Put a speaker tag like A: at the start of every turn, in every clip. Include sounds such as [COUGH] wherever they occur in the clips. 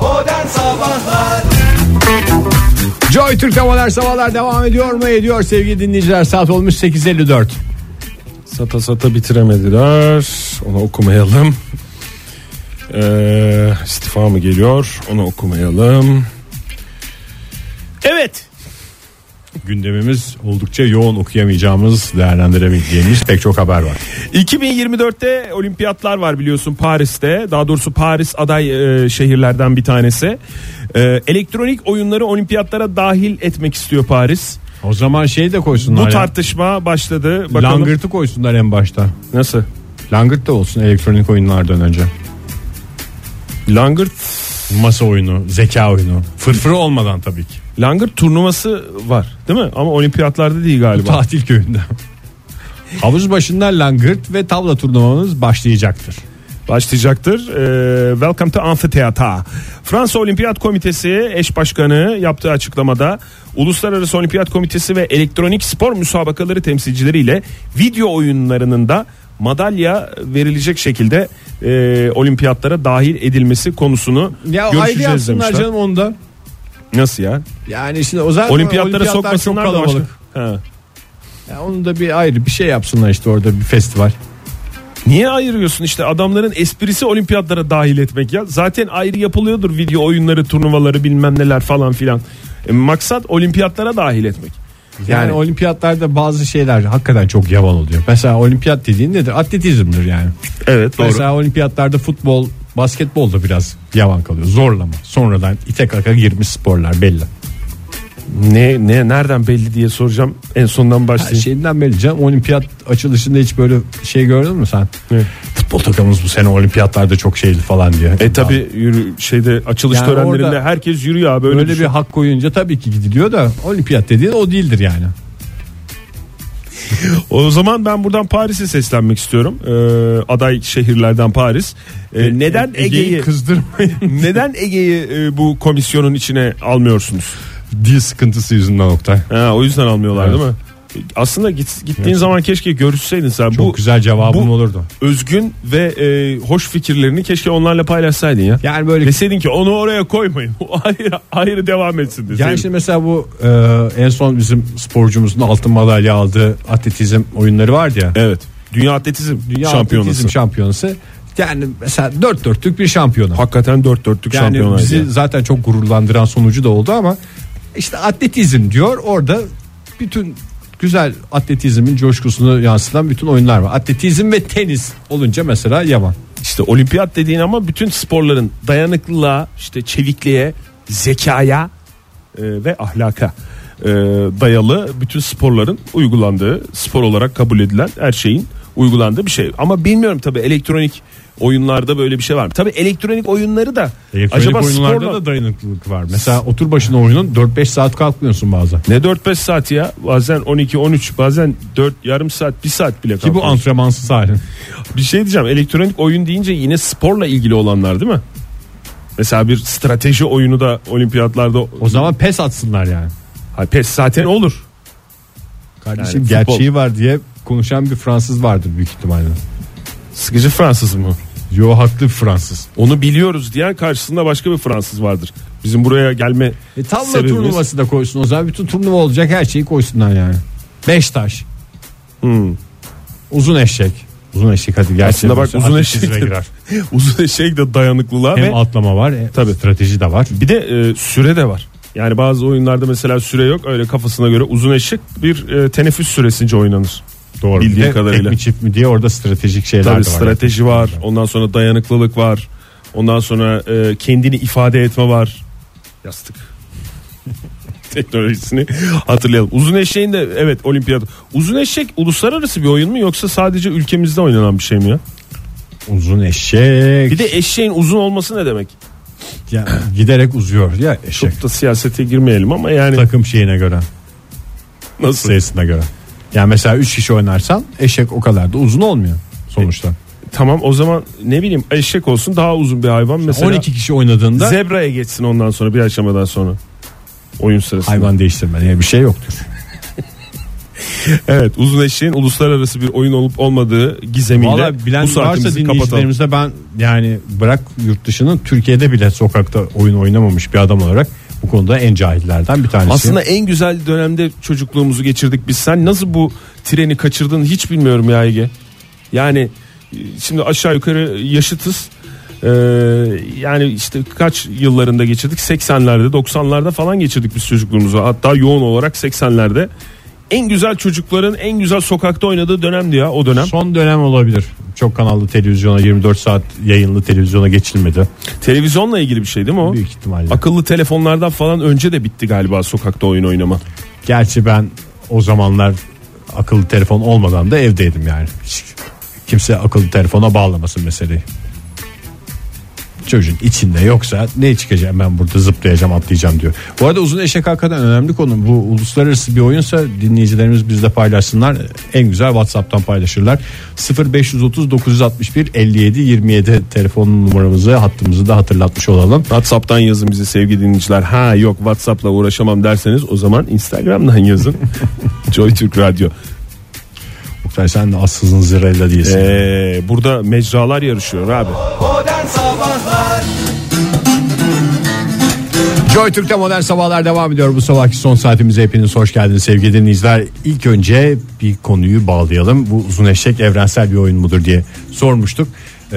A: Oh, Sabahlar
B: Joy Türk'te modern sabahlar devam ediyor mu? Ediyor sevgili dinleyiciler. Saat olmuş 8.54.
C: Sata sata bitiremediler. Onu okumayalım. Ee, istifa mı geliyor? Onu okumayalım.
B: Evet. Gündemimiz oldukça yoğun okuyamayacağımız değerlendirebileceğimiz pek çok haber var.
C: 2024'te olimpiyatlar var biliyorsun Paris'te. Daha doğrusu Paris aday e, şehirlerden bir tanesi. E, elektronik oyunları olimpiyatlara dahil etmek istiyor Paris.
B: O zaman şey de koysunlar.
C: Bu
B: ya.
C: tartışma başladı. Bakalım.
B: Langırt'ı koysunlar en başta.
C: Nasıl?
B: Langırt da olsun elektronik oyunlardan önce.
C: Langırt,
B: Masa oyunu, zeka oyunu. Fırfırı olmadan tabii ki.
C: Langırt turnuvası var değil mi? Ama olimpiyatlarda değil
B: Bu
C: galiba.
B: tatil köyünde. Havuz başında langırt ve tavla turnuvamız başlayacaktır.
C: başlayacaktır. Ee, Welcome to Amfiteata. Fransa Olimpiyat Komitesi eş başkanı yaptığı açıklamada Uluslararası Olimpiyat Komitesi ve elektronik spor müsabakaları temsilcileriyle video oyunlarının da madalya verilecek şekilde e, olimpiyatlara dahil edilmesi konusunu
B: Ya haydi
C: görüşeceğiz
B: yapsınlar
C: demişler.
B: canım onu da.
C: Nasıl ya?
B: Yani şimdi o zaten
C: Olimpiyatlara
B: olimpiyatlar çok
C: sokmasınlar da başka. Ha.
B: Ya onu da bir ayrı bir şey yapsınlar işte orada bir festival.
C: Niye ayırıyorsun işte adamların esprisi olimpiyatlara dahil etmek ya. Zaten ayrı yapılıyordur video oyunları, turnuvaları bilmem neler falan filan. E, maksat olimpiyatlara dahil etmek.
B: Yani,
C: Yani-
B: olimpiyatlarda bazı şeyler hakikaten çok yavan oluyor. Mesela olimpiyat dediğin nedir? Atletizmdir yani.
C: Evet
B: Mesela olimpiyatlarda futbol, basketbol da biraz yavan kalıyor. Zorlama. Sonradan ite kaka girmiş sporlar belli.
C: Ne, ne nereden belli diye soracağım. En sondan
B: Her şey-
C: başlayayım.
B: şeyinden belli canım. Olimpiyat açılışında hiç böyle şey gördün mü sen?
C: Ne?
B: Futbol takımımız bu sene olimpiyatlarda çok şeydi falan diye.
C: E tabi yürü, şeyde açılış
B: Yani
C: törenlerinde
B: orada-
C: herkes yürüyor abi öyle,
B: Böyle bir
C: bir
B: hak koyunca tabii ki gidiliyor da olimpiyat dediğin o değildir yani.
C: O zaman ben buradan Paris'e seslenmek istiyorum. Ee, aday şehirlerden Paris. Ee,
B: E,
C: neden
B: [LAUGHS]
C: Ege'yi
B: kızdırmayın
C: neden Ege'yi e, bu komisyonun içine almıyorsunuz?
B: diye sıkıntısı yüzünden Oktay.
C: Ha, o yüzden almıyorlar
B: Evet.
C: değil mi? Aslında git, gittiğin zaman keşke görüşseydin sen.
B: Çok
C: bu
B: güzel cevabım
C: bu-
B: olurdu.
C: özgün ve e, hoş fikirlerini keşke onlarla paylaşsaydın ya.
B: Yani böyle
C: Deseydin ki onu oraya koymayın. [LAUGHS] O ayrı, ayrı devam etsin deseydin.
B: yani şimdi mesela bu e, en son bizim sporcumuzun altın madalya aldığı atletizm oyunları vardı ya.
C: Evet. Dünya Atletizm
B: Dünya
C: Şampiyonası.
B: atletizm şampiyonası. Yani mesela dört dörtlük bir şampiyona.
C: Hakikaten dört dörtlük
B: Yani
C: şampiyonlar.
B: bizi
C: ya.
B: zaten çok gururlandıran sonucu da oldu ama işte atletizm diyor orada bütün güzel atletizmin coşkusunu yansıtan bütün oyunlar var. Atletizm ve tenis olunca mesela yaman.
C: İşte olimpiyat dediğin ama bütün sporların dayanıklılığa, işte çevikliğe, zekaya e, ve ahlaka e, dayalı bütün sporların uygulandığı, spor olarak kabul edilen her şeyin uygulandığı bir şey. Ama bilmiyorum tabii elektronik oyunlarda böyle bir şey var mı? Tabii elektronik oyunları da acaba sporla...
B: dayanıklılık var. Mesela otur başına oyunun 4-5 saat kalkmıyorsun bazen.
C: Ne 4-5 saat ya bazen 12-13 bazen 4 yarım saat 1 saat bile
B: Ki bu
C: kalkıyorsun.
B: antrenmansız halin.
C: Bir şey diyeceğim elektronik oyun deyince yine sporla ilgili olanlar değil mi? Mesela bir strateji oyunu da olimpiyatlarda
B: O zaman pes atsınlar yani.
C: Ha, pes zaten olur.
B: Kardeşim
C: Yani futbol.
B: gerçeği var diye konuşan bir Fransız vardır büyük ihtimalle.
C: Sıkıcı Fransız mı?
B: Yo haklı bir Fransız.
C: Onu biliyoruz diyen karşısında başka bir Fransız vardır. Bizim buraya gelme
B: E tavla
C: sebebimiz-
B: turnuvası da koysun o zaman bütün turnuva olacak her şeyi koysunlar yani. Beş taş.
C: Hmm.
B: Uzun eşek. Uzun eşek hadi gerçi.
C: Aslında bak uzun
B: atletizme
C: eşek de-
B: girer.
C: [LAUGHS] Uzun eşek de dayanıklılığa
B: Hem
C: ve
B: atlama var. Tabii. Strateji de var.
C: bir de e, süre de var. Yani bazı oyunlarda mesela süre yok öyle kafasına göre uzun eşek bir e, teneffüs süresince oynanır.
B: Doğru.
C: Bildiğim
B: Bir de
C: kadarıyla.
B: Tek mi çift mi diye orada stratejik şeyler
C: Tabii
B: de var.
C: strateji var ondan sonra dayanıklılık var ondan sonra e, kendini ifade etme var. Yastık [LAUGHS] teknolojisini hatırlayalım. Uzun eşeğin de evet olimpiyat. Uzun eşek uluslararası bir oyun mu yoksa sadece ülkemizde oynanan bir şey mi ya?
B: Uzun eşek.
C: Bir de eşeğin uzun olması ne demek?
B: Ya, giderek uzuyor ya eşek.
C: Çok da siyasete girmeyelim ama yani
B: Takım şeyine göre.
C: nasıl?
B: Sayısına göre. Yani mesela 3 kişi oynarsan eşek o kadar da uzun olmuyor sonuçta.
C: Tamam o zaman ne bileyim eşek olsun daha uzun bir hayvan mesela.
B: 12 kişi oynadığında
C: zebraya geçsin ondan sonra bir aşamadan sonra oyun sırasında.
B: hayvan değiştirme diye bir şey yoktur.
C: evet uzun eşeğin uluslararası bir oyun olup olmadığı gizemiyle
B: Valla bilen
C: bu
B: varsa
C: saatimizi kapatalım.
B: dinleyicilerimize ben yani bırak yurt dışının Türkiye'de bile sokakta oyun oynamamış bir adam olarak bu konuda en cahillerden bir tanesi.
C: Aslında en güzel dönemde çocukluğumuzu geçirdik biz. Sen nasıl bu treni kaçırdın hiç bilmiyorum ya Ege. Yani e, şimdi aşağı yukarı yaşıtız. Ee, yani işte kaç yıllarında geçirdik? 80'lerde, 90'larda falan geçirdik biz çocukluğumuzu. Hatta yoğun olarak 80'lerde. En güzel çocukların en güzel sokakta oynadığı dönemdi ya o dönem.
B: son dönem olabilir. Çok kanallı televizyona 24 saat yayınlı televizyona geçilmedi.
C: Televizyonla ilgili bir şey değil mi o?
B: Büyük ihtimalle.
C: Akıllı telefonlardan falan önce de bitti galiba sokakta oyun oynama.
B: Gerçi ben o zamanlar akıllı telefon olmadan da evdeydim yani. Hiç kimse akıllı telefona bağlamasın meseleyi. Çocuğun içinde yoksa ne çıkacağım ben burada zıplayacağım atlayacağım diyor. Bu arada uzun eşek hakikaten önemli konu. Bu uluslararası bir oyunsa dinleyicilerimiz bizde paylaşsınlar. En güzel Whatsapp'tan paylaşırlar. 0530 961 57 27 telefon numaramızı hattımızı da hatırlatmış olalım.
C: WhatsApp'tan yazın bize sevgili dinleyiciler. Ha yok WhatsApp'la uğraşamam derseniz o zaman
B: [LAUGHS]
C: Instagram'dan yazın. Joy Türk Radyo.
B: Oktay sen de assızın zırayla değilsin.
C: Ee, burada mecralar yarışıyor abi.
A: Modern Sabahlar
B: Joy Türk'te modern sabahlar devam ediyor. Bu sabahki son saatimize hepiniz hoş geldiniz sevgili dinleyiciler. İlk önce bir konuyu bağlayalım. Bu uzun eşek evrensel bir oyun mudur diye sormuştuk. Ee,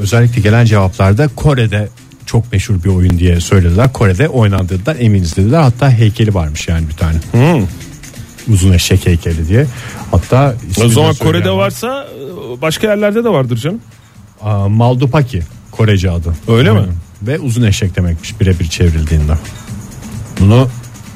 B: özellikle gelen cevaplarda Kore'de çok meşhur bir oyun diye söylediler. Kore'de oynandığından eminiz dediler. Hatta heykeli varmış yani bir tane.
C: Hmm.
B: Uzun eşek heykeli diye. Hatta ismini
C: O zaman
B: de söyleyen
C: Kore'de varsa e, başka yerlerde de vardır canım.
B: Aa, Maldupaki Korece adı.
C: Öyle mi?
B: Ve uzun eşek demekmiş birebir çevrildiğinde. Bunu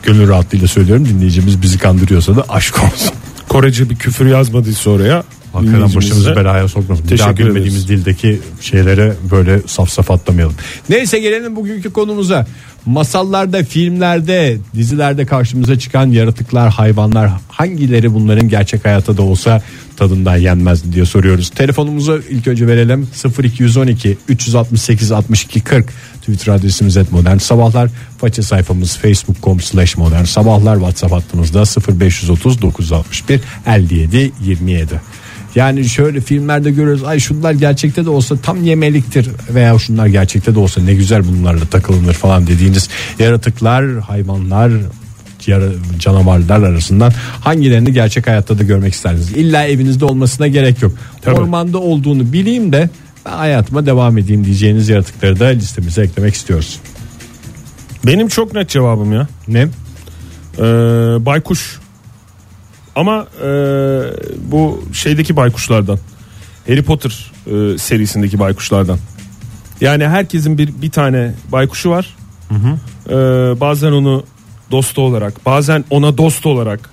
B: gönül rahatlığıyla söylüyorum dinleyicimiz bizi kandırıyorsa da aşk olsun.
C: Korece bir küfür yazmadıysa oraya.
B: Hakikaten başımızı
C: dinleyicimize-
B: belaya sokmasın. Bir daha
C: Teşekkür ederiz.
B: bilmediğimiz dildeki şeylere böyle saf saf atlamayalım. Neyse gelelim bugünkü konumuza. Masallarda, filmlerde, dizilerde karşımıza çıkan yaratıklar, hayvanlar hangileri bunların gerçek hayatta da olsa tadından yenmez diye soruyoruz. Telefonumuzu ilk önce verelim. 0212 368 62 40 Twitter adresimiz et modern sabahlar. Faça sayfamız facebook.com slash modern sabahlar. WhatsApp hattımızda 0530 961 57 27. Yani şöyle filmlerde görüyoruz ay şunlar gerçekte de olsa tam yemeliktir veya şunlar gerçekte de olsa ne güzel bunlarla takılınır falan dediğiniz yaratıklar, hayvanlar, yara- canavarlar arasından hangilerini gerçek hayatta da görmek isterdiniz? İlla evinizde olmasına gerek yok. Ormanda olduğunu bileyim de ben hayatıma devam edeyim diyeceğiniz yaratıkları da listemize eklemek istiyoruz.
C: Benim çok net cevabım ya.
B: Ne?
C: Ee, baykuş. Ama e, bu şeydeki baykuşlardan. Harry Potter e, serisindeki baykuşlardan. Yani herkesin bir bir tane baykuşu var. Ee, bazen onu dostu olarak, bazen ona dost olarak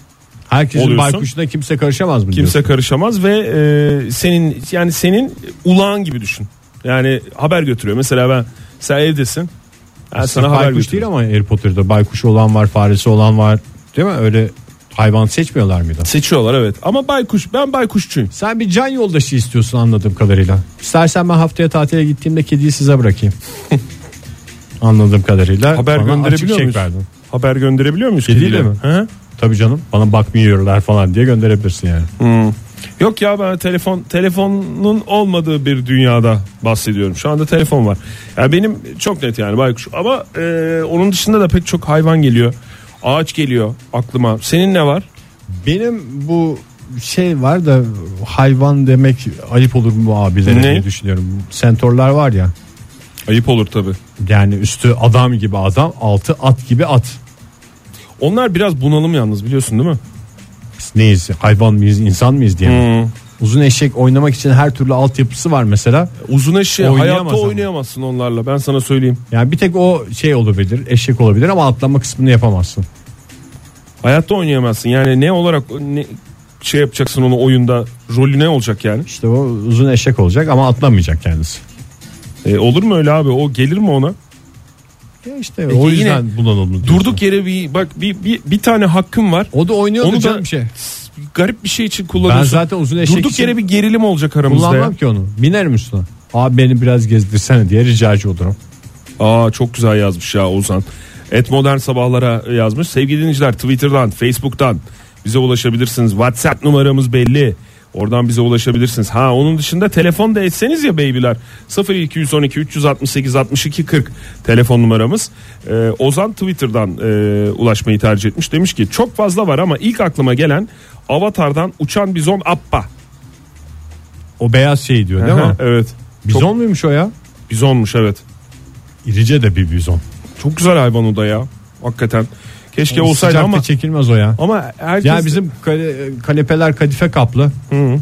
B: Herkesin
C: Oluyorsun.
B: baykuşuna kimse karışamaz mı?
C: kimse
B: diyorsun?
C: karışamaz ve e, senin yani senin ulağın gibi düşün. Yani haber götürüyor. Mesela ben sen evdesin. Ben sana haber
B: baykuş değil
C: götürüyorum.
B: ama Harry Potter'da baykuşu olan var, faresi olan var. Değil mi? Öyle hayvan seçmiyorlar mıydı?
C: Seçiyorlar evet. Ama baykuş ben baykuşçuyum.
B: Sen bir can yoldaşı istiyorsun anladığım kadarıyla. İstersen ben haftaya tatile gittiğimde kediyi size
C: [LAUGHS]
B: bırakayım. anladığım kadarıyla.
C: Haber
B: bana açık
C: gönderebiliyor
B: çek
C: muyuz?
B: verdin.
C: Haber gönderebiliyor muyuz?
B: Kediyle
C: kediyle?
B: mi?
C: Hı?
B: Tabii canım bana bakmıyorlar falan diye gönderebilirsin yani.
C: Yok ya ben telefon telefonun olmadığı bir dünyada bahsediyorum. Şu anda telefon var. Ya benim çok net yani baykuş ama e, onun dışında da pek çok hayvan geliyor. Ağaç geliyor aklıma. Senin ne var?
B: Benim bu şey var da hayvan demek ayıp olur mu abilere
C: Ne?
B: diye düşünüyorum. Sentorlar var ya
C: Ayıp olur tabi.
B: yani üstü adam gibi adam altı at gibi at.
C: Onlar biraz bunalım yalnız biliyorsun değil mi?
B: Biz neyiz hayvan mıyız insan mıyız diye. mi?
C: Hmm.
B: Uzun eşek oynamak için her türlü altyapısı var mesela.
C: Uzun eşeği
B: Oynayamaz
C: hayatta
B: ama.
C: oynayamazsın onlarla ben sana söyleyeyim.
B: Yani bir tek o şey olabilir eşek olabilir ama atlama kısmını yapamazsın.
C: Hayatta oynayamazsın yani ne olarak ne, şey yapacaksın onu oyunda rolü ne olacak yani?
B: İşte o uzun eşek olacak ama atlamayacak kendisi.
C: E, olur mu öyle abi o gelir mi ona?
B: Ya işte
C: Peki
B: o
C: yine
B: yüzden bulanalım. diyorsun.
C: Durduk yere bir bak bir, bir, bir tane hakkım var.
B: O da oynuyor
C: Onu
B: Onu
C: da
B: canım bir şey.
C: garip bir şey için
B: Ben
C: kullanıyorsun.
B: zaten uzun eşek
C: Durduk
B: için
C: yere bir gerilim olacak aramızda. Ya.
B: kullanmam ki onu. Binerim üstüne. Abi beni biraz gezdirsene diye ricacı olurum.
C: Aa çok güzel yazmış ya Ozan. Et modern sabahlara yazmış. Sevgili dinleyiciler Twitter'dan, Facebook'tan Bize ulaşabilirsiniz. WhatsApp numaramız belli. Oradan bize ulaşabilirsiniz. Ha onun dışında telefon da etseniz ya beybiler. 0212 368 62 40 telefon numaramız. Ee, Ozan Twitter'dan e, ulaşmayı tercih etmiş. Demiş ki çok fazla var ama ilk aklıma gelen Avatar'dan uçan bizon Appa.
B: O beyaz şey diyor değil mi?
C: evet.
B: Bizon
C: Çok-
B: muymuş o ya?
C: bizonmuş evet.
B: İrice de bir bizon.
C: Çok güzel hayvan o da ya. Hakikaten.
B: Ee,
C: Keşke olsaydı
B: Sıcakta
C: ama
B: çekilmez o ya.
C: ama herkes
B: Ya bizim kale- kanepeler kadife kaplı.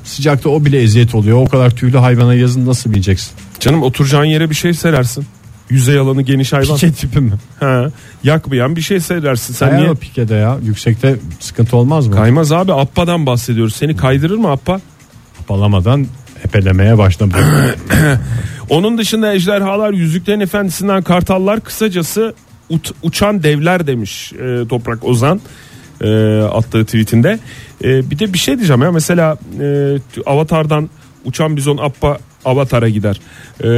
B: Sıcakta o bile eziyet oluyor. O kadar tüylü hayvana yazın nasıl bileceksin?
C: canım oturacağın yere bir şey serersin. Yüzey alanı geniş hayvan.
B: Pike tipi mi?
C: Ha, yakmayan bir şey serersin. Sen
B: şey- Kayar
C: niye?
B: o pikede ya. Yüksekte sıkıntı olmaz mı?
C: Kaymaz abi Appa'dan bahsediyoruz. Seni kaydırır mı Appa?
B: Kapalamadan epelemeye
C: [CLEARS THROAT]
B: başladım.
C: Onun dışında ejderhalar, yüzüklerin efendisinden kartallar kısacası ut- uçan devler demiş e, Toprak Ozan e, attığı tweetinde. E, bir de bir şey diyeceğim ya mesela e, Avatar'dan uçan bizon Appa Avatar'a gider e,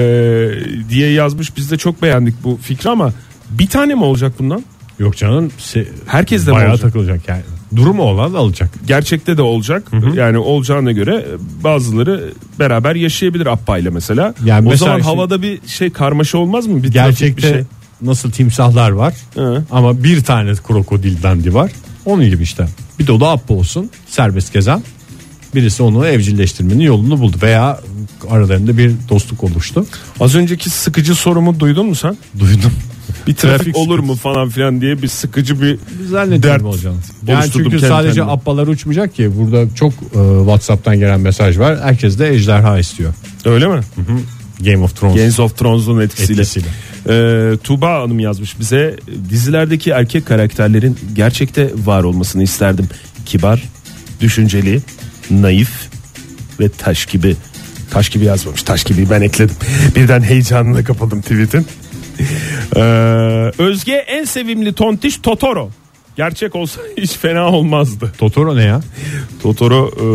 C: diye yazmış. Biz de çok beğendik bu fikri ama bir tane mi olacak bundan?
B: Yok canım. se-
C: Herkes de mi
B: bayağı
C: olacak?
B: takılacak yani. Durumu olan alacak.
C: gerçekte de olacak. Yani olacağına göre e, bazıları beraber yaşayabilir Appa ile mesela.
B: Yani
C: o
B: mesela
C: zaman
B: şimdi-
C: havada bir şey karmaşa olmaz mı? Bir trafik bir
B: Gerçekte
C: şey.
B: nasıl timsahlar var
C: Hı.
B: ama bir tane krokodil dandi var. Onun gibi işte. Bir dolu appa olsun serbest gezen. Birisi onu evcilleştirmenin yolunu buldu veya aralarında bir dostluk oluştu.
C: Az önceki sıkıcı sorumu duydun mu sen?
B: [LAUGHS] Duydum.
C: Bir trafik,
B: Trafik
C: olur mu falan filan diye bir sıkıcı bir dert.
B: Zannediyorum olacağını. Yani
C: oluşturdum
B: çünkü
C: kendi
B: sadece
C: kendime.
B: appalar uçmayacak ki. Burada çok e, Whatsapp'tan gelen mesaj var. Herkes de ejderha istiyor.
C: Öyle mi?
B: Game of Thrones.
C: Games of Thrones'un etkisiyle.
B: Etkisiyle.
C: Ee, Tuğba Hanım yazmış bize dizilerdeki erkek karakterlerin gerçekte var olmasını isterdim. Kibar, düşünceli, naif ve taş gibi. Taş gibi yazmamış. Taş gibi ben ekledim. Birden heyecanına kapıldım tweet'in. Ee, Özge en sevimli tontiş Totoro. Gerçek olsa [LAUGHS] hiç fena olmazdı.
B: Totoro ne ya?
C: Totoro e,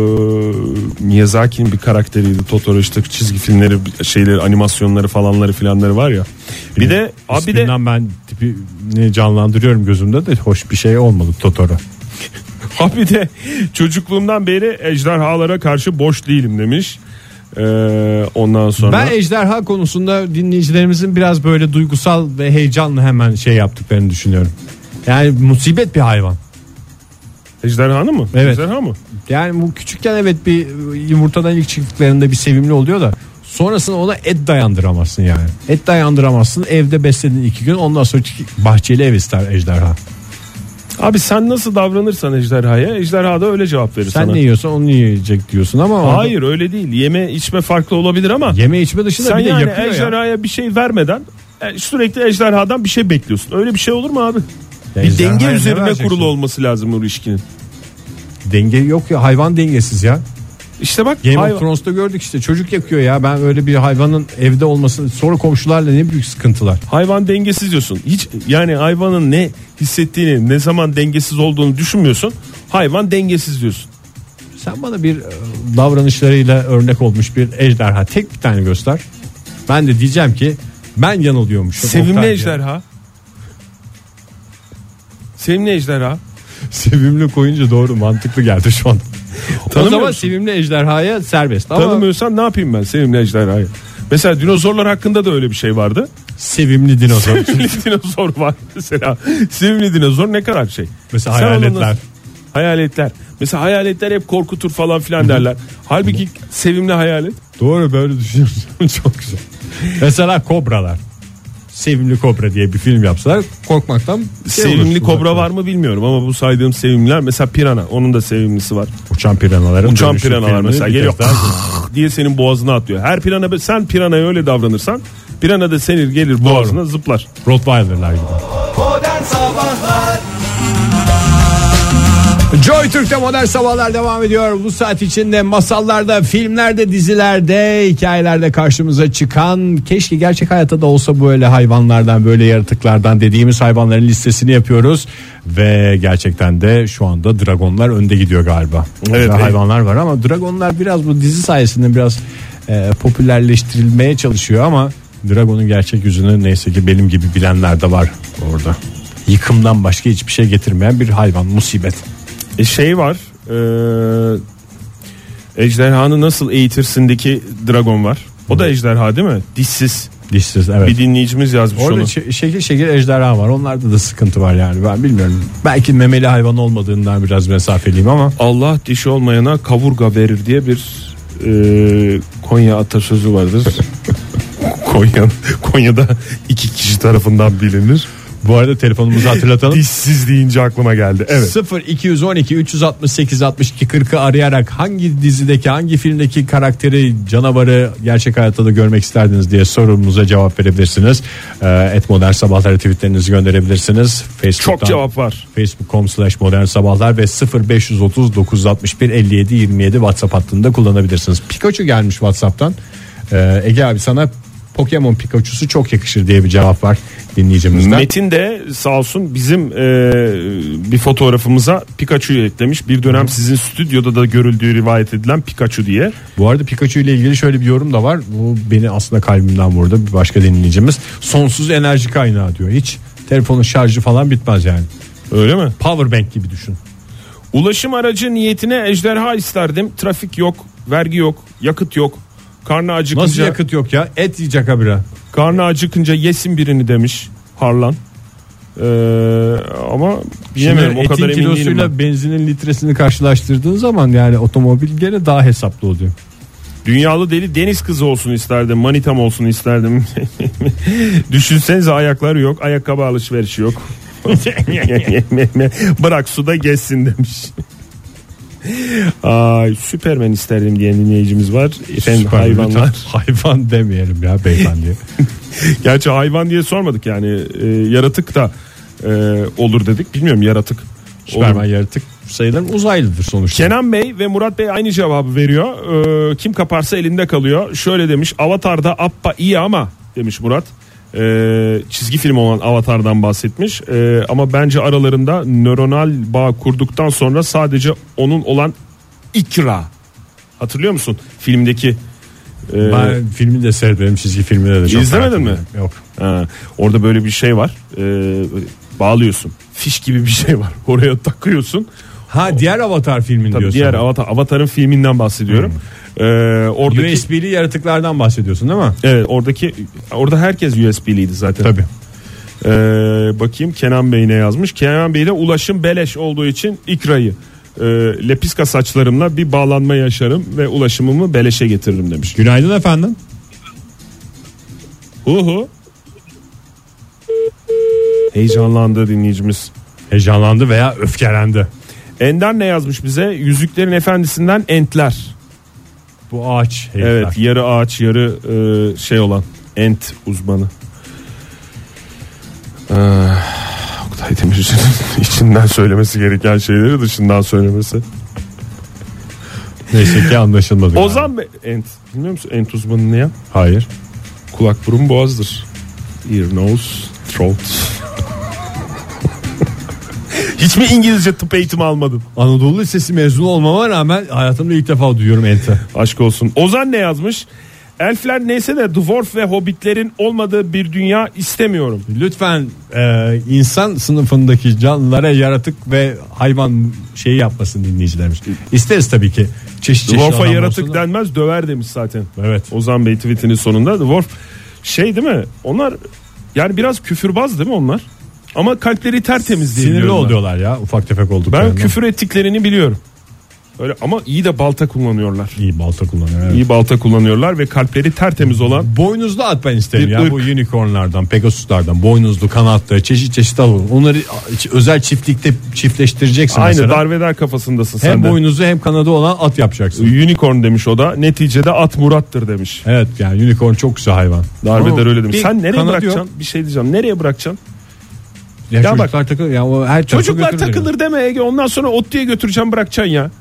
C: Miyazaki'nin bir karakteriydi. Totoro işte çizgi filmleri, şeyleri, animasyonları falanları filanları var ya. Bir de abi bir de
B: İsminden ben tipini canlandırıyorum gözümde de hoş bir şey olmadı Totoro.
C: [LAUGHS] abi bir de çocukluğumdan beri ejderhalara karşı boş değilim demiş. E, ondan sonra
B: Ben ejderha konusunda dinleyicilerimizin biraz böyle duygusal ve heyecanlı hemen şey yaptıklarını düşünüyorum. Yani musibet bir hayvan.
C: ejderhanı mı?
B: Evet.
C: Ejderha mı?
B: Yani bu küçükken evet bir yumurtadan ilk çıktıklarında bir sevimli oluyor da sonrasında ona et dayandıramazsın yani. Et dayandıramazsın evde besledin iki gün ondan sonra çık- bahçeli ev ister ejderha.
C: Abi sen nasıl davranırsan ejderhaya ejderha da öyle cevap verir
B: Sen
C: sana.
B: ne yiyorsan onu yiyecek diyorsun ama
C: Hayır öyle değil. Yeme içme farklı olabilir ama
B: Yeme içme dışında
C: sen
B: bir de
C: yani
B: yapıyor ya.
C: ejderhaya bir şey vermeden e, sürekli ejderhadan bir şey bekliyorsun. Öyle bir şey olur mu abi?
B: Ya
C: Bir
B: ejderhaya
C: denge
B: ne
C: üzerine
B: vereceksin?
C: kurulu olması lazım bu ilişkinin.
B: Denge yok ya hayvan dengesiz ya.
C: İşte bak
B: Game
C: hayvan-
B: of Thrones'ta gördük işte çocuk yakıyor ya. Ben öyle bir hayvanın evde olmasını sonra komşularla ne büyük sıkıntılar.
C: hayvan dengesiz diyorsun. Hiç yani hayvanın ne hissettiğini, ne zaman dengesiz olduğunu düşünmüyorsun. Hayvan dengesiz diyorsun.
B: Sen bana bir e, davranışlarıyla örnek olmuş bir ejderha tek bir tane göster. Ben de diyeceğim ki ben yanılıyormuşum.
C: Sevimli
B: Oktay diye.
C: ejderha. Sevimli ejderha.
B: Sevimli koyunca doğru mantıklı geldi
C: [LAUGHS]
B: şu an. o
C: Tanımıyor
B: zaman
C: musun?
B: sevimli ejderhaya serbest ama
C: Tanımıyorsan ne yapayım ben sevimli ejderhayı? Mesela dinozorlar hakkında da öyle bir şey vardı.
B: sevimli
C: [LAUGHS]
B: dinozor. [LAUGHS]
C: Sevimli dinozor var mesela. Sevimli dinozor ne kadar şey.
B: Mesela
C: Sen
B: hayaletler.
C: onunla- Hayaletler. Mesela hayaletler hep korkutur falan filan derler. Halbuki sevimli hayalet.
B: doğru böyle düşünüyorsun [LAUGHS] çok güzel. Mesela kobralar. Sevimli kobra diye bir film yapsalar korkmaktan şey olur,
C: sevimli kobra
B: uzaklar.
C: var mı bilmiyorum ama bu saydığım sevimliler mesela pirana onun da sevimlisi var.
B: Uçan piranaların
C: Uçan
B: dönüşü
C: piranalar
B: filmini
C: mesela
B: bir
C: geliyor
B: kez daha-
C: [LAUGHS] diye senin boğazına atıyor. Her pirana sen piranaya öyle davranırsan pirana da senin gelir boğazına zıplar.
B: Rottweiler'lar gibi.
A: Modern Sabahlar
B: Joy Türk'te modern sabahlar devam ediyor. Bu saat içinde masallarda, filmlerde, dizilerde, hikayelerde karşımıza çıkan keşke gerçek hayatta da olsa böyle hayvanlardan, böyle yaratıklardan dediğimiz hayvanların listesini yapıyoruz. Ve gerçekten de şu anda dragonlar önde gidiyor galiba.
C: Evet,
B: Daha
C: evet.
B: hayvanlar var ama dragonlar biraz bu dizi sayesinde biraz e, popülerleştirilmeye çalışıyor ama dragonun gerçek yüzünü neyse ki benim gibi bilenler de var orada. Yıkımdan başka hiçbir şey getirmeyen bir hayvan musibet.
C: E şey var. E, ejderhanı nasıl eğitirsindeki dragon var. O da ejderha değil mi? Dişsiz.
B: Dişsiz evet.
C: Bir dinleyicimiz yazmış
B: Orada
C: onu.
B: şe- şekil şekil ejderha var. Onlarda da sıkıntı var yani. Ben bilmiyorum. Belki memeli hayvan olmadığından biraz mesafeliyim ama
C: Allah dişi olmayana kavurga verir diye bir e, Konya atasözü vardır. Konya Konya'da iki kişi tarafından bilinir.
B: bu arada telefonumuzu
C: [LAUGHS]
B: hatırlatalım.
C: Dişsiz deyince aklıma geldi. Evet.
B: 0 212 368 62 40'ı arayarak hangi dizideki hangi filmdeki karakteri canavarı gerçek hayatta da görmek isterdiniz diye sorumuza cevap verebilirsiniz. Ee, Et Modern Sabahları tweetlerinizi gönderebilirsiniz. Facebook'tan,
C: Çok cevap var.
B: Facebook.com slash modern sabahlar ve 0530 961 57 27 WhatsApp hattında kullanabilirsiniz. Pikachu gelmiş WhatsApp'tan. Ee, Ege abi sana Pokemon Pikachu'su çok yakışır diye bir cevap var dinleyicimizden.
C: Metin de sağ olsun bizim e, bir fotoğrafımıza Pikachu'yu eklemiş. Bir dönem sizin stüdyoda da görüldüğü rivayet edilen Pikachu diye.
B: Bu arada Pikachu ile ilgili şöyle bir yorum da var. Bu beni aslında kalbimden vurdu. Bir başka dinleyicimiz. Sonsuz enerji kaynağı diyor. Hiç telefonun şarjı falan bitmez yani.
C: Öyle mi?
B: Power bank gibi düşün.
C: Ulaşım aracı niyetine ejderha isterdim. Trafik yok, vergi yok, yakıt yok. Karnı acıkınca
B: Nasıl yakıt yok ya? Et yiyecek habire.
C: karnı acıkınca yesin birini demiş Harlan. Ee, ama bilemiyorum o
B: Şimdi
C: kadar
B: etin
C: emin değilim. ben.
B: kilosuyla benzinin litresini karşılaştırdığın zaman yani otomobil gene daha hesaplı oluyor.
C: Dünyalı deli deniz kızı olsun isterdim. Manitam olsun isterdim. [LAUGHS] Düşünsenize ayakları yok. Ayakkabı alışverişi yok. [LAUGHS] Bırak suda geçsin demiş. Ay Süpermen isterdim diyen dinleyicimiz var. Efendim
B: Süper, lütfen
C: hayvanlar.
B: [LAUGHS] Hayvan demeyelim ya [LAUGHS] beyefendi.
C: Gerçi hayvan diye sormadık yani. Ee, yaratık da e, olur dedik. Bilmiyorum yaratık. olur
B: Süperman yaratık sayılır mı? uzaylıdır sonuçta.
C: Kenan Bey ve Murat Bey aynı cevabı veriyor. Ee, kim kaparsa elinde kalıyor. Şöyle demiş Avatar'da Appa iyi ama demiş Murat. Ee, çizgi film olan Avatar'dan bahsetmiş. Ee, ama bence aralarında nöronal bağ kurduktan sonra sadece onun olan ikra. Hatırlıyor musun filmdeki? e,
B: ben Ee, filmi de seyretmedim çizgi filmi de. çok
C: İzlemedin
B: merak
C: mi?
B: ediyorum. Yok.
C: Ha, orada böyle bir şey var. Ee, bağlıyorsun. Fiş gibi bir şey var. [LAUGHS] Oraya takıyorsun.
B: Ha diğer Avatar filmin
C: Tabii
B: diyorsun. Hmm.
C: diğer Avatar, Avatar'ın filminden bahsediyorum. Ee, oradaki
B: USB'li yaratıklardan bahsediyorsun değil mi?
C: Evet oradaki orada herkes USB'liydi zaten.
B: Tabii.
C: Ee, bakayım Kenan Bey ne yazmış? Kenan Bey ile ulaşım beleş olduğu için ikrayı e, lepiska saçlarımla bir bağlanma yaşarım ve ulaşımımı beleşe getiririm demiş.
B: Günaydın efendim.
C: Uhu. Heyecanlandı dinleyicimiz.
B: Heyecanlandı veya öfkelendi.
C: Ender ne yazmış bize? Yüzüklerin Efendisi'nden entler.
B: Bu ağaç. herifler.
C: Evet yarı ağaç yarı e, şey olan ent uzmanı. Ee, Oktay Demirci'nin [LAUGHS] içinden söylemesi gereken şeyleri dışından söylemesi.
B: Neyse ki anlaşılmadı. galiba.
C: Ozan Bey ent bilmiyor musun ent uzmanı ne ya?
B: Hayır.
C: Kulak burun boğazdır. Ear nose throat. [LAUGHS] Hiç mi İngilizce tıp eğitimi almadın?
B: Anadolu Lisesi mezunu olmama rağmen hayatımda ilk defa duyuyorum ente.
C: Aşk olsun. Ozan ne yazmış? Elfler neyse de dwarf ve hobbitlerin olmadığı bir dünya istemiyorum.
B: Lütfen e, insan sınıfındaki canlılara yaratık ve hayvan şeyi yapmasın dinleyicilerimiz. İsteriz tabii ki. Çeşit çeşit
C: Dwarf'a
B: adam
C: yaratık
B: olsun da-
C: denmez döver demiş zaten.
B: Evet.
C: Ozan Bey tweetinin sonunda Dwarf şey değil mi? Onlar yani biraz küfürbaz değil mi onlar? Ama kalpleri tertemiz diye
B: Sinirli
C: biliyorum ben.
B: oluyorlar ya ufak tefek
C: Ben
B: olduklarında.
C: küfür ettiklerini biliyorum. Öyle ama iyi de balta kullanıyorlar.
B: İyi balta kullanıyor. evet.
C: İyi balta kullanıyorlar ve kalpleri tertemiz olan
B: Boynuzlu at ben isterim
C: Bir
B: ya
C: ırk.
B: bu unicornlardan, pegasuslardan, boynuzlu kanatlı çeşit çeşit alalım. Onları özel çiftlikte çiftleştireceksin
C: aynı
B: mesela.
C: darveder kafasındasın
B: hem
C: sen de.
B: boynuzu hem kanadı olan at yapacaksın.
C: Unicorn demiş o da. Neticede at Murat'tır demiş.
B: Evet yani unicorn çok güzel hayvan.
C: Darveder
B: Ama
C: öyle demiş.
B: bir
C: Sen nereye
B: kanadı
C: bırakacaksın?
B: yok.
C: Bir şey diyeceğim. Nereye bırakacaksın?
B: Ya,
C: Ya
B: çocuklar takılır. Ya o her tarafa
C: Çocuklar
B: götürür.
C: takılır deme Ege. Ondan sonra otluya götüreceğim bırakacaksın ya.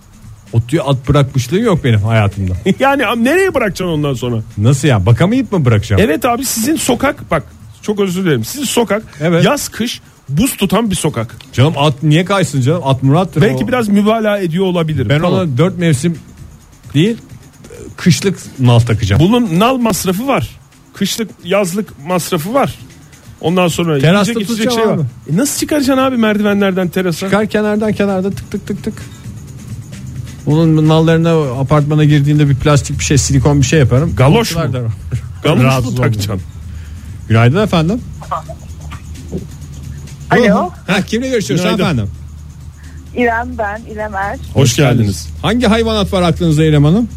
B: Otluya at bırakmışlığı yok benim hayatımda.
C: [LAUGHS] yani am- nereye bırakacaksın ondan sonra?
B: Nasıl ya? Bakamayıp mı bırakacağım?
C: Evet abi sizin sokak bak çok özür dilerim. Sizin sokak
B: Evet.
C: yaz kış buz tutan bir sokak.
B: Canım at niye kaysın canım? At Murat'tır.
C: Belki
B: o.
C: biraz mübalağa ediyor olabilirim.
B: ben
C: Tamam.
B: ona dört mevsim değil kışlık nal takacağım.
C: bunun nal masrafı var. Kışlık yazlık masrafı var. Ondan sonra
B: Terasta
C: yiyecek içecek
B: tutacağım
C: şey var.
B: abi.
C: E nasıl çıkaracaksın abi merdivenlerden terasa?
B: Çıkar kenardan kenarda tık tık tık tık. Onun nallarına apartmana girdiğinde bir plastik bir şey silikon bir şey yaparım.
C: [LAUGHS] Galoş mu?
B: Kapılar da-
C: Gamus
B: Rahatsız
C: mu
B: olma.
C: takacaksın?
B: Günaydın efendim.
D: Alo.
B: Ha, kimle görüşüyoruz
C: Günaydın.
B: efendim?
D: İrem ben, İrem Er.
C: Hoş geldiniz.
B: Hangi hayvanat var aklınızda İrem Hanım?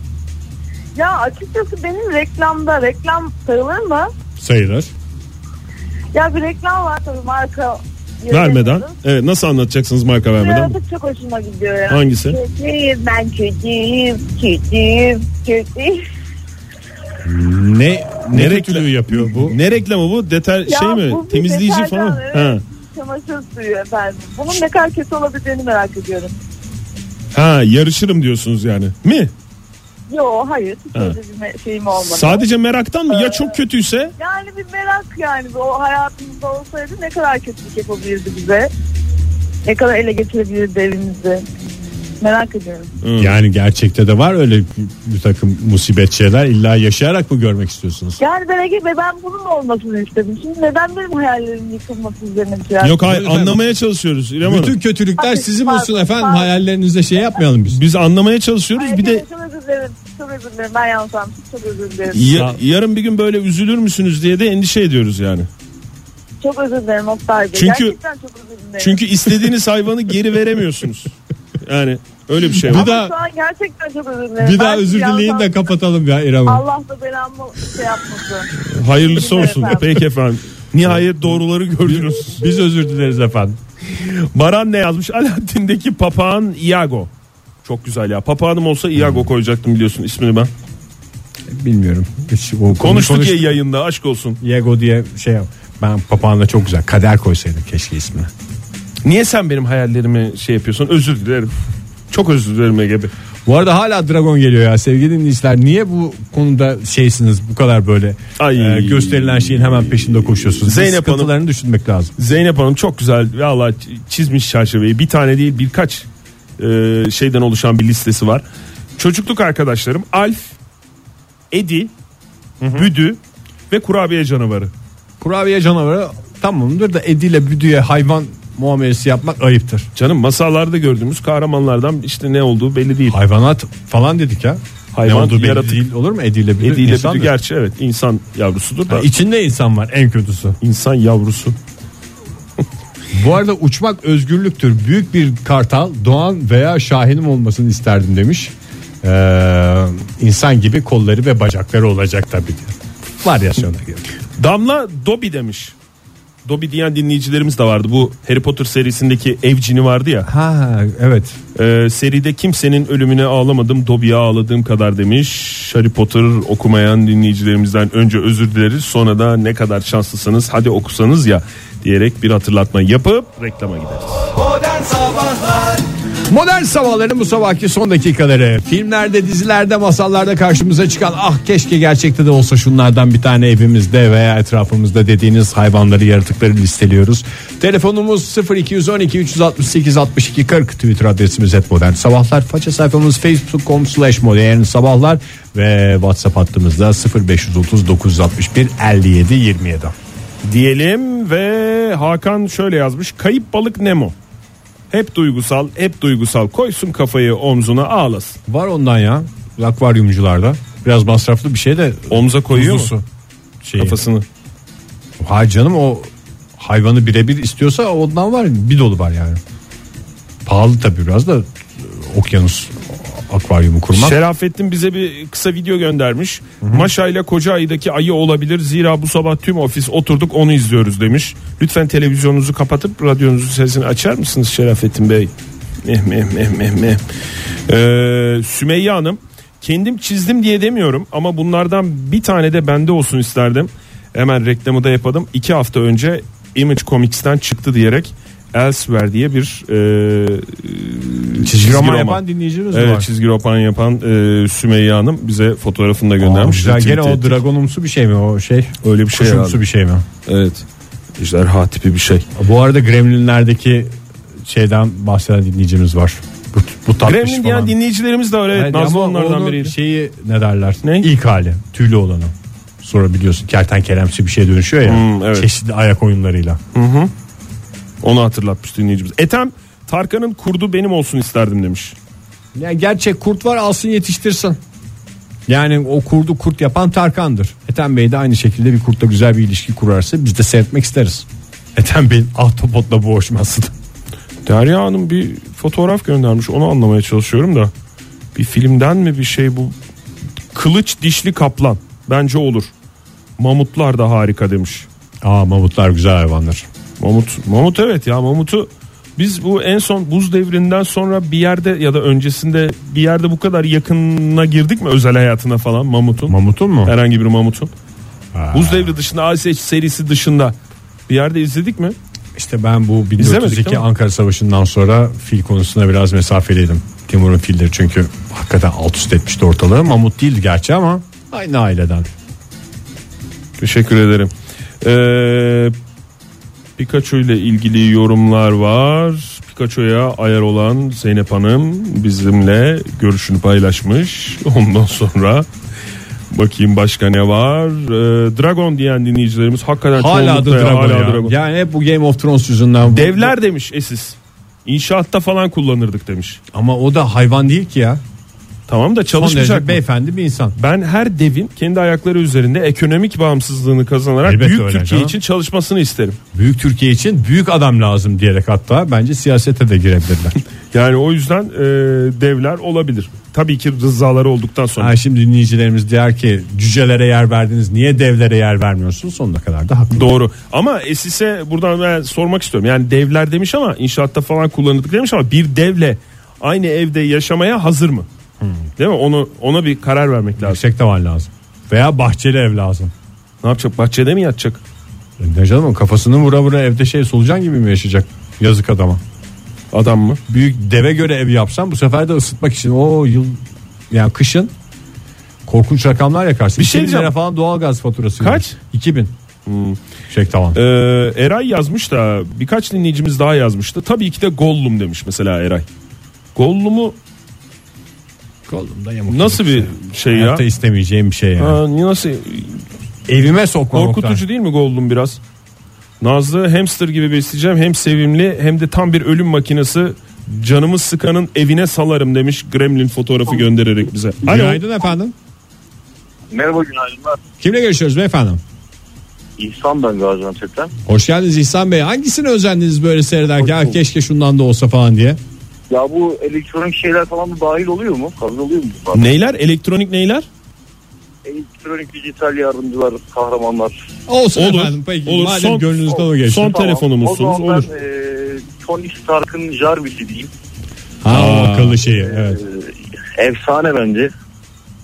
D: Ya açıkçası benim reklamda, reklam sayılır mı?
C: Sayılır.
D: Ya bir reklam var tabii marka.
C: Vermeden. Evet nasıl anlatacaksınız marka vermeden?
D: Birazcık çok hoşuma gidiyor ya.
C: Hangisi?
D: Kötüyüm ben kötüyüm, kötüyüm, kötüyüm.
C: Ne
B: ne
C: reklamı yapıyor bu? Ne reklamı bu? Deter
D: Ya
C: şey mi?
D: bu bir
C: Temizleyici
D: deterjan,
C: falan. mı?
D: evet.
C: Ha.
D: Çamaşır suyu efendim. Bunun ne kadar kötü olabileceğini merak ediyorum.
C: ha, yarışırım diyorsunuz yani. Mi?
D: Yo hayır, hiç
C: Ha.
D: öyle bir me- şeyim olmadı.
C: Sadece meraktan mı? Ya çok kötüyse?
D: yani bir merak yani o hayatımızda olsaydı ne kadar kötülük yapabilirdi bize. Ne kadar ele geçirebilirdi evimizi. Merak ediyorum.
B: Yani gerçekte de var öyle bir takım musibet şeyler illa yaşayarak mı görmek istiyorsunuz?
D: Yani ben Ege Bey ben bunun olmasını istedim. Şimdi neden benim hayallerimin yıkılması üzerine bir şey yaptın?
C: Yok hayır
B: Efendim?
C: anlamaya çalışıyoruz İrem Hanım.
B: Bütün kötülükler
D: Abi,
B: sizi
D: pardon,
B: bulsun efendim
D: pardon.
B: hayallerinizde şey yapmayalım biz.
C: Biz anlamaya çalışıyoruz.
D: Ay,
C: Bir de
D: Çok özür dilerim. Çok özür dilerim. Ben yanlış anlamışım. Çok özür dilerim.
C: ya- yarın bir gün böyle üzülür müsünüz diye de endişe ediyoruz yani.
D: Çok özür dilerim Oktay Bey.
C: Çünkü-
D: Gerçekten çok özür dilerim.
C: Çünkü istediğiniz hayvanı geri veremiyorsunuz. Yani öyle bir şey var.
B: Bir daha-
D: Şu an gerçekten çok özür dilerim.
B: Bir daha
D: Ben
B: özür
D: yanlış
B: dileyin de
D: anlamışım.
B: kapatalım ya İrem Hanım.
D: Allah da belamı şey yapmasın.
C: Hayırlısı
D: Evet
C: olsun.
D: efendim.
C: Peki efendim. Nihayet doğruları gördünüz.
B: Biz özür dileriz efendim.
C: Baran ne yazmış? Alaaddin'deki papağan Iago. Çok güzel ya. Papağanım olsa Iago koyacaktım biliyorsun ismini ben.
B: Bilmiyorum. Hiç o-
C: Konuştuk
B: konuş-
C: ya yayında aşk olsun.
B: Yego diye şey yap. Ben papağanla çok güzel kader koysaydım keşke ismini.
C: Niye sen benim hayallerimi şey yapıyorsun? Özür dilerim. Çok özür dilerim Ege Bey.
B: Bu arada hala dragon geliyor ya sevgili dinleyiciler. Niye bu konuda şeysiniz bu kadar böyle
C: Ay.
B: e, gösterilen şeyin hemen peşinde koşuyorsunuz?
C: Zeynep
B: Zeynep
C: Hanım-
B: Sıkıntılarını düşünmek lazım.
C: Zeynep Hanım çok güzel valla çizmiş çerçeveyi. Bir tane değil birkaç e, şeyden oluşan bir listesi var. Çocukluk arkadaşlarım Alf, Edi, Büdü ve kurabiye canavarı.
B: Kurabiye canavarı tamamdır da ediyle büdüye hayvan muamelesi yapmak ayıptır.
C: Canım masallarda gördüğümüz kahramanlardan işte ne olduğu belli değil.
B: Hayvanat falan dedik ya.
C: Hayvan,
B: ne olduğu belli
C: yaratık.
B: değil olur mu? Ediyle büdü
C: Edi ile
B: insandır.
C: Büdü gerçi evet insan yavrusudur da
B: Ha, İçinde insan var en kötüsü.
C: insan yavrusu.
B: Bu arada uçmak özgürlüktür. Büyük bir kartal doğan veya şahinim olmasını isterdim demiş. Ee, insan gibi kolları ve bacakları olacak tabii ki. Varyasyona göre.
C: Damla Dobby demiş. Dobby diyen dinleyicilerimiz de vardı. Bu Harry Potter serisindeki evcini vardı ya.
B: Ha evet.
C: Ee, seride kimsenin ölümüne ağlamadım Dobby'ye ağladığım kadar demiş. Harry Potter okumayan dinleyicilerimizden önce özür dileriz sonra da ne kadar şanslısınız hadi okusanız ya diyerek bir hatırlatma yapıp reklama gideriz.
A: Modern Sabahlar
B: Modern sabahların bu sabahki son dakikaları. Filmlerde, dizilerde, masallarda karşımıza çıkan ah keşke gerçekte de olsa şunlardan bir tane evimizde veya etrafımızda dediğiniz hayvanları, yaratıkları listeliyoruz. Telefonumuz 0212 368 62 40 Twitter adresimiz et modern sabahlar. Faça sayfamız facebook.com slash modern sabahlar ve WhatsApp hattımızda 0530 961 57 27.
C: Diyelim ve Hakan şöyle yazmış. Kayıp balık Nemo. Hep duygusal, hep duygusal. Koysun kafayı omzuna ağlasın.
B: Var ondan ya akvaryumcularda. Biraz masraflı bir şey de
C: Omza koyuyor
B: Kuzusu.
C: mu
B: Şeyi.
C: kafasını?
B: Hayır canım o hayvanı birebir istiyorsa ondan var bir dolu var yani. Pahalı tabii biraz da e, okyanus akvaryumu kurmak.
C: Şerafettin bize bir kısa video göndermiş. Maşa ile koca ayıdaki ayı olabilir. Zira bu sabah tüm ofis oturduk onu izliyoruz demiş. Lütfen televizyonunuzu kapatıp radyonuzun sesini açar mısınız Şerafettin Bey? Eh, meh, meh, meh, meh. Ee, Sümeyye Hanım kendim çizdim diye demiyorum ama bunlardan bir tane de bende olsun isterdim. Hemen reklamı da yapalım. İki hafta önce Image Comics'ten çıktı diyerek Elsewhere diye bir e,
B: çizgi roman yapan dinleyicimiz
C: Evet
B: var.
C: çizgi roman yapan e, Sümeyye Hanım bize fotoğrafını da göndermiş.
B: Güzel
C: Retweet
B: gene o
C: ettik.
B: dragonumsu bir şey mi o şey?
C: Öyle bir şey
B: Kuşumsu
C: herhalde.
B: bir şey mi?
C: Evet. Ejderha tipi bir şey.
B: Bu arada Gremlinler'deki şeyden bahseden dinleyicimiz var. Bu, bu tatlış
C: Gremlin diyen
B: falan.
C: dinleyicilerimiz de var. Evet,
B: Hayır,
C: Nazlı
B: ama
C: onlardan
B: onun
C: biriydi.
B: şeyi ne derler?
C: Ne?
B: İlk hali tüylü olanı. sonra biliyorsun kertenkelemsi bir şeye dönüşüyor ya.
C: Hmm, evet.
B: Çeşitli ayak oyunlarıyla.
C: Onu hatırlatmış dinleyicimiz. Etem Tarkan'ın kurdu benim olsun isterdim demiş.
B: Yani gerçek kurt var alsın yetiştirsin. Yani o kurdu kurt yapan Tarkan'dır. Ethem Bey de aynı şekilde bir kurtla güzel bir ilişki kurarsa biz de seyretmek isteriz. Ethem Bey'in ahtapotla boğuşması da.
C: Derya Hanım bir fotoğraf göndermiş onu anlamaya çalışıyorum da. Bir filmden mi bir şey bu? Kılıç dişli kaplan bence olur. Mamutlar da harika demiş.
B: Aa mamutlar güzel hayvandır.
C: Mamut, mamut evet ya mamutu biz bu en son buz devrinden sonra bir yerde ya da öncesinde bir yerde bu kadar yakınına girdik mi özel hayatına falan mamutun?
B: Mamutun mu?
C: Herhangi bir mamutun. Buz devri dışında ASH serisi dışında bir yerde izledik mi?
B: İşte ben bu
C: İzlemedik
B: 1402
C: değil mi?
B: Ankara Savaşı'ndan sonra fil konusunda biraz mesafeliydim. Timur'un filleri çünkü hakikaten alt üst etmişti ortalığı. Mamut değildi gerçi ama aynı aileden.
C: Teşekkür ederim. Ee, Pikachu ile ilgili yorumlar var. Pikachu'ya ayar olan Zeynep Hanım bizimle görüşünü paylaşmış. [LAUGHS] Ondan sonra bakayım başka ne var. Ee, Dragon diyen dinleyicilerimiz hakikaten
B: Hala da
C: çoğunlukla
B: Dragon
C: hala
B: ya.
C: Dragon.
B: Yani hep bu Game of Thrones yüzünden. bu-
C: Devler demiş Esis. İnşaatta falan kullanırdık demiş.
B: Ama o da hayvan değil ki ya.
C: Tamam da
B: Son derece
C: çalışmayacak mı?
B: beyefendi bir insan.
C: Ben her devin kendi ayakları üzerinde ekonomik bağımsızlığını kazanarak
B: Elbette
C: büyük
B: öyle
C: Türkiye
B: canım.
C: için çalışmasını isterim.
B: Büyük Türkiye için büyük adam lazım diyerek hatta bence siyasete de
C: [LAUGHS]
B: girebilirler.
C: Yani o yüzden e, devler olabilir. Tabii ki rızaları olduktan sonra.
B: ha, şimdi dinleyicilerimiz diyor ki cücelere yer verdiniz niye devlere yer vermiyorsunuz sonuna kadar da haklı.
C: Doğru. Ama Esis'e buradan ben sormak istiyorum. Yani devler demiş ama inşaatta falan kullanıldık demiş ama bir devle aynı evde yaşamaya hazır mı? Değil mi? Onu ona bir karar vermek lazım.
B: Yüksek tavan lazım. Veya bahçeli ev lazım. E,
C: Ne yapacak? Bahçede mi yatacak?
B: Ne canım o kafasını vura vura evde şey solucan gibi mi yaşayacak? Yazık adama.
C: Adam mı?
B: Büyük deve göre ev yapsam bu sefer de ısıtmak için o yıl yani kışın korkunç rakamlar yakarsın.
C: Bir şey
B: 2000 lira
C: diyeceğim.
B: falan doğalgaz faturası.
C: Kaç?
B: verir. 2000. Yüksek tavan.
C: Ee, Eray yazmış da birkaç dinleyicimiz daha yazmıştı. Tabii ki de Gollum demiş mesela Eray. Gollum'u
B: Kolumda yamuk.
C: nasıl bir şey ya?
B: Hayatta istemeyeceğim bir şey yani.
C: Ha, nasıl
B: Evime sokma
C: Korkutucu değil mi Goldum biraz? Nazlı hamster gibi besleyeceğim hem sevimli hem de tam bir ölüm makinesi canımı sıkanın evine salarım demiş Gremlin fotoğrafı göndererek bize.
B: Oktay.
C: Alo.
B: Günaydın efendim.
E: Merhaba günaydınlar.
B: Kimle görüşüyoruz beyefendim?
E: İhsan ben Gaziantep'ten.
B: Hoş geldiniz İhsan Bey. Hangisini özendiniz böyle seyrederken? "Ah, Keşke şundan da olsa falan diye.
E: Ya bu elektronik şeyler falan da dahil oluyor mu? Kabul oluyor mu? bunlar?
C: Neyler elektronik neyler?
E: Elektronik dijital yardımcılar, kahramanlar.
B: Olsun
C: Olur,
B: efendim. Peki,
C: olur.
B: Madem
C: Son-
B: gönlünüzden o geçti.
C: son- telefonumuzsunuz,
E: O zaman
C: olur.
E: ben e, Tony Stark'ın Jarvis'i diyeyim.
B: Ha,
C: Aa.
B: akıllı şeyi. Evet.
E: E, efsane bence.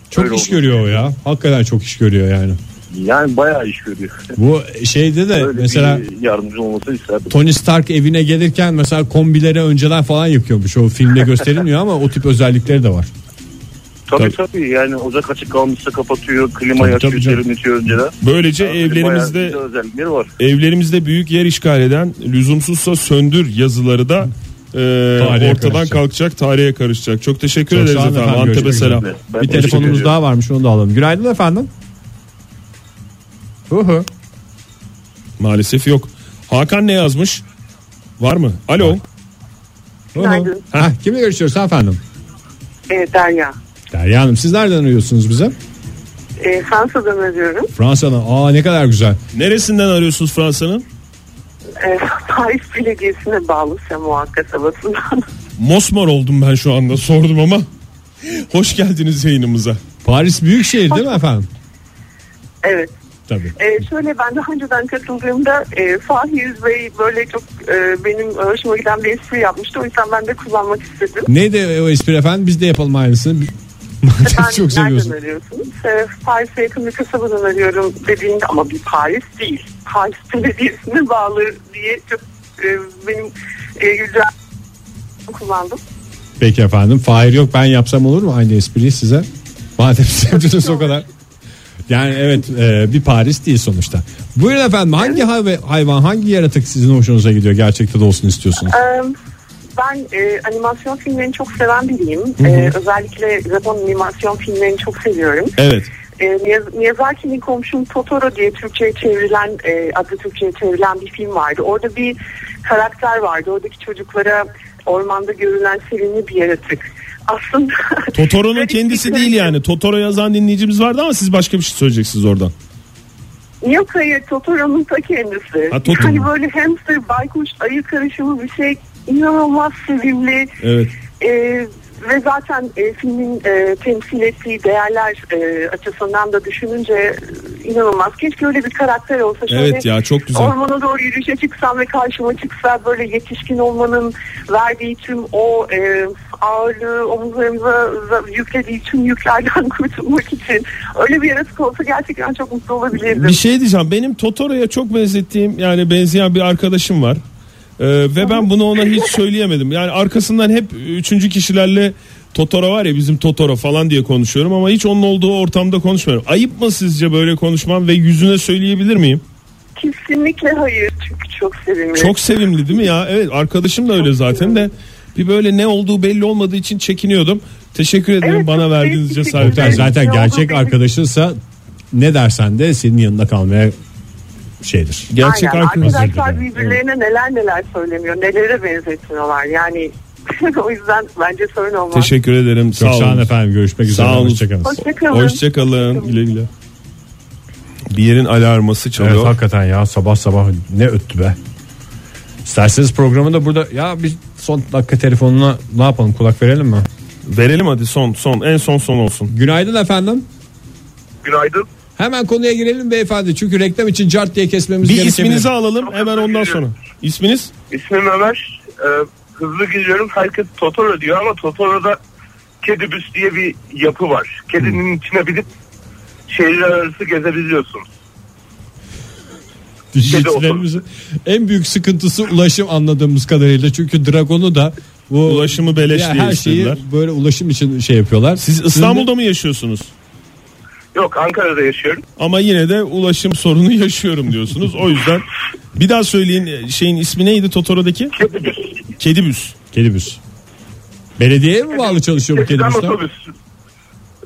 B: Çok
E: Öyle
B: iş
E: oldu.
B: görüyor o ya. Hakikaten çok iş görüyor yani.
E: Yani bayağı iş görüyor.
B: Bu şeyde de
E: Öyle
B: mesela
E: bir yardımcı olması isterdim.
B: Tony Stark evine gelirken mesela kombileri önceden falan yıkıyormuş. O filmde gösterilmiyor ama o tip özellikleri de var.
E: Tabii tabii yani ocak açık kalmışsa kapatıyor,
B: Tabii,
E: klimayı açıyor,
B: tabii canım. E,
E: serinletiyor önceden.
C: Böylece
E: Yani bayağı
C: evlerimizde
E: güzel özellikleri var.
C: evlerimizde büyük yer işgal eden lüzumsuzsa söndür yazıları da e,
B: Tarihe
C: ortadan
B: karışacak.
C: kalkacak tarihe karışacak. Çok teşekkür
B: Çok
C: ederiz
B: sağ olun
C: efendim.
B: efendim,
C: Antep'e
B: görüşmek
C: selam.
E: üzere. Ben
B: Bir
E: teşekkür
B: telefonumuz
E: ediyorum.
B: daha varmış onu da alalım. Günaydın efendim. Hı hı.
C: Maalesef yok. Hakan ne yazmış? Var mı? Alo.
B: Hı hı.
D: Günaydın.
B: Heh, Kimle görüşüyoruz efendim?
D: Evet E, Derya.
B: Derya Hanım siz nereden arıyorsunuz bize?
D: Ee, Fransa'dan arıyorum.
B: Fransa'dan. Aa ne kadar güzel.
C: Neresinden arıyorsunuz Fransa'nın?
D: Ee, [LAUGHS] Paris Belediyesi'ne bağlı Semoa kasabasından.
C: Mosmor oldum ben şu anda sordum ama. Hoş geldiniz yayınımıza.
B: Paris büyük şehir
D: [LAUGHS]
B: değil mi efendim?
D: [LAUGHS] evet.
B: Tabii.
D: Ee, şöyle ben daha önceden katıldığımda e, Fahri Yüz Bey böyle çok e, benim hoşuma giden bir espri yapmıştı. O yüzden ben de kullanmak istedim.
B: Neydi o espri efendim? Biz [LAUGHS] de yapalım aynısını. Madem [LAUGHS]
D: Ben
B: çok seviyorsun.
D: Nereden arıyorsunuz? Ee, Paris'e yakın bir kasabadan arıyorum dediğinde ama bir Paris değil. Paris Belediyesi'ne bağlı diye çok e, benim e, güzel kullandım.
B: Peki efendim. Fahir yok ben yapsam olur mu aynı espriyi size?
D: [LAUGHS]
B: Madem sevdiniz o kadar. Yani evet e, bir Paris değil sonuçta. Buyurun efendim hangi hay- hayvan hangi yaratık sizin hoşunuza gidiyor gerçekte de olsun istiyorsunuz?
D: Ee, Ben e, animasyon E, filmlerini çok seven biriyim. Ee, özellikle Japon animasyon filmlerini çok seviyorum.
C: Evet.
D: E, Miyaz- Miyazaki'nin komşum Totoro diye Türkçe'ye çevrilen e, adı Türkçe'ye çevrilen bir film vardı. Orada bir karakter vardı. Oradaki çocuklara ormanda görülen sevimli bir yaratık. Aslında [LAUGHS]
C: Totoro'nun
D: Garip bir
C: kendisi
D: görüntü.
C: değil yani. Totoro yazan dinleyicimiz vardı ama siz başka bir şey söyleyeceksiniz oradan.
D: Yok hayır Totoro'nun ta kendisi.
C: Ha, Totoro.
D: Hani böyle hamster, baykuş, ayı karışımı bir şey. İnanılmaz sevimli.
C: Evet.
D: Ee, ve zaten e, filmin e, temsil ettiği değerler e, açısından da düşününce e, inanılmaz. Keşke öyle bir karakter olsa. Şöyle
C: Evet ya, çok güzel.
D: Ormana doğru yürüyüşe çıksam ve karşıma çıksa böyle yetişkin olmanın verdiği tüm o e, ağırlığı omuzlarımıza za- yüklediği tüm yüklerden [LAUGHS] kurtulmak için öyle bir yaratık olsa gerçekten çok mutlu olabilirdim.
C: Bir şey diyeceğim. Benim Totoro'ya çok benzettiğim yani benzeyen bir arkadaşım var. Ee, ve ben bunu ona hiç söyleyemedim. Yani arkasından hep üçüncü kişilerle Totoro var ya bizim Totoro falan diye konuşuyorum ama hiç onun olduğu ortamda konuşmuyorum. Ayıp mı sizce böyle konuşmam ve yüzüne söyleyebilir miyim?
D: Kesinlikle hayır çünkü çok sevimli.
C: Çok sevimli değil mi ya? Evet arkadaşım da öyle zaten de bir böyle ne olduğu belli olmadığı için çekiniyordum. Teşekkür ederim
D: Evet,
C: bana
D: çok
C: verdiğiniz
D: keyifli
C: cesaret.
D: fikirler.
B: Yani
D: Evet,
B: zaten
D: yolda
B: gerçek
D: benim-
B: arkadaşınsa ne dersen de senin yanında kalmaya şeydir.
C: Gerçek
D: Aynen.
C: arkadaş.
D: Arkadaşlar
B: Özür dilerim.
D: birbirlerine neler neler söyleniyor. Nelere benzetiyorlar. Yani [LAUGHS] o yüzden bence sorun olmaz.
C: Teşekkür ederim.
B: Çok
C: Sağ
B: sağ olun
C: olun.
B: efendim. Görüşmek üzere.
C: Sağ olun.
B: Hoşçakalın.
D: Hoşçakalın.
C: Hoşçakalın. Güle güle. Bir yerin alarması çalıyor.
B: Evet hakikaten ya sabah sabah ne öttü be. İsterseniz programı da burada ya biz son dakika telefonuna ne yapalım kulak verelim mi?
C: Verelim hadi son son en son son olsun.
B: Günaydın efendim.
E: Günaydın.
B: Hemen konuya girelim beyefendi. Çünkü reklam için cart diye kesmemiz
C: Bir
B: gerekebilir. [LAUGHS]
C: isminizi alalım hemen ondan sonra. İsminiz?
E: İsmim Ömer. Ee, hızlı gidiyorum. Herkes Totoro diyor ama Totoro'da kedibüs diye bir yapı var. Kedinin içine binip şehirler arası gezebiliyorsun.
B: Dinleyicilerimizin en büyük sıkıntısı ulaşım anladığımız kadarıyla. Çünü Dragon'u da bu
C: Ulaşımı beleş
B: ya
C: diye
B: her şeyi
C: istediler.
B: böyle ulaşım için şey yapıyorlar.
C: Siz İstanbul'da mı yaşıyorsunuz?
E: Yok Ankara'da yaşıyorum.
C: Ama yine de ulaşım sorunu [LAUGHS] yaşıyorum diyorsunuz. O yüzden bir daha söyleyin e, şeyin ismi neydi Totoro'daki?
E: Kedibüs.
C: Kedibüs.
B: Kedibüs. Belediyeye mi bağlı çalışıyor bu
E: Kediden
B: kedibüsler?
E: otobüs.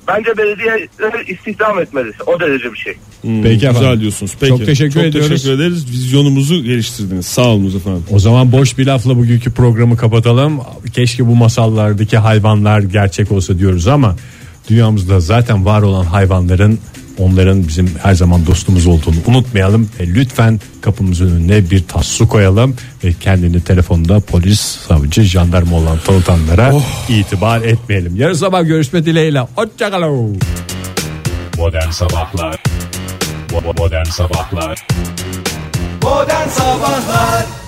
E: Bence belediye istihdam etmeli. O derece bir şey.
B: Hmm, Peki efendim.
C: Hmm, Güzel diyorsunuz. Peki.
B: Çok teşekkür ediyoruz.
C: teşekkür ederiz. Vizyonumuzu geliştirdiniz. Sağ olun efendim.
B: O zaman boş bir lafla bugünkü programı kapatalım. Keşke bu masallardaki hayvanlar gerçek olsa diyoruz ama dünyamızda zaten var olan hayvanların onların bizim her zaman dostumuz olduğunu unutmayalım ve lütfen kapımızın önüne bir tas su koyalım ve kendini telefonda polis, savcı, jandarma olan tanıtanlara itibar etmeyelim. Yarın sabah görüşme dileğiyle. Hoşçakalın.
F: Modern Sabahlar Bo- bo- Modern Sabahlar
A: Oh, Modern Sabahlar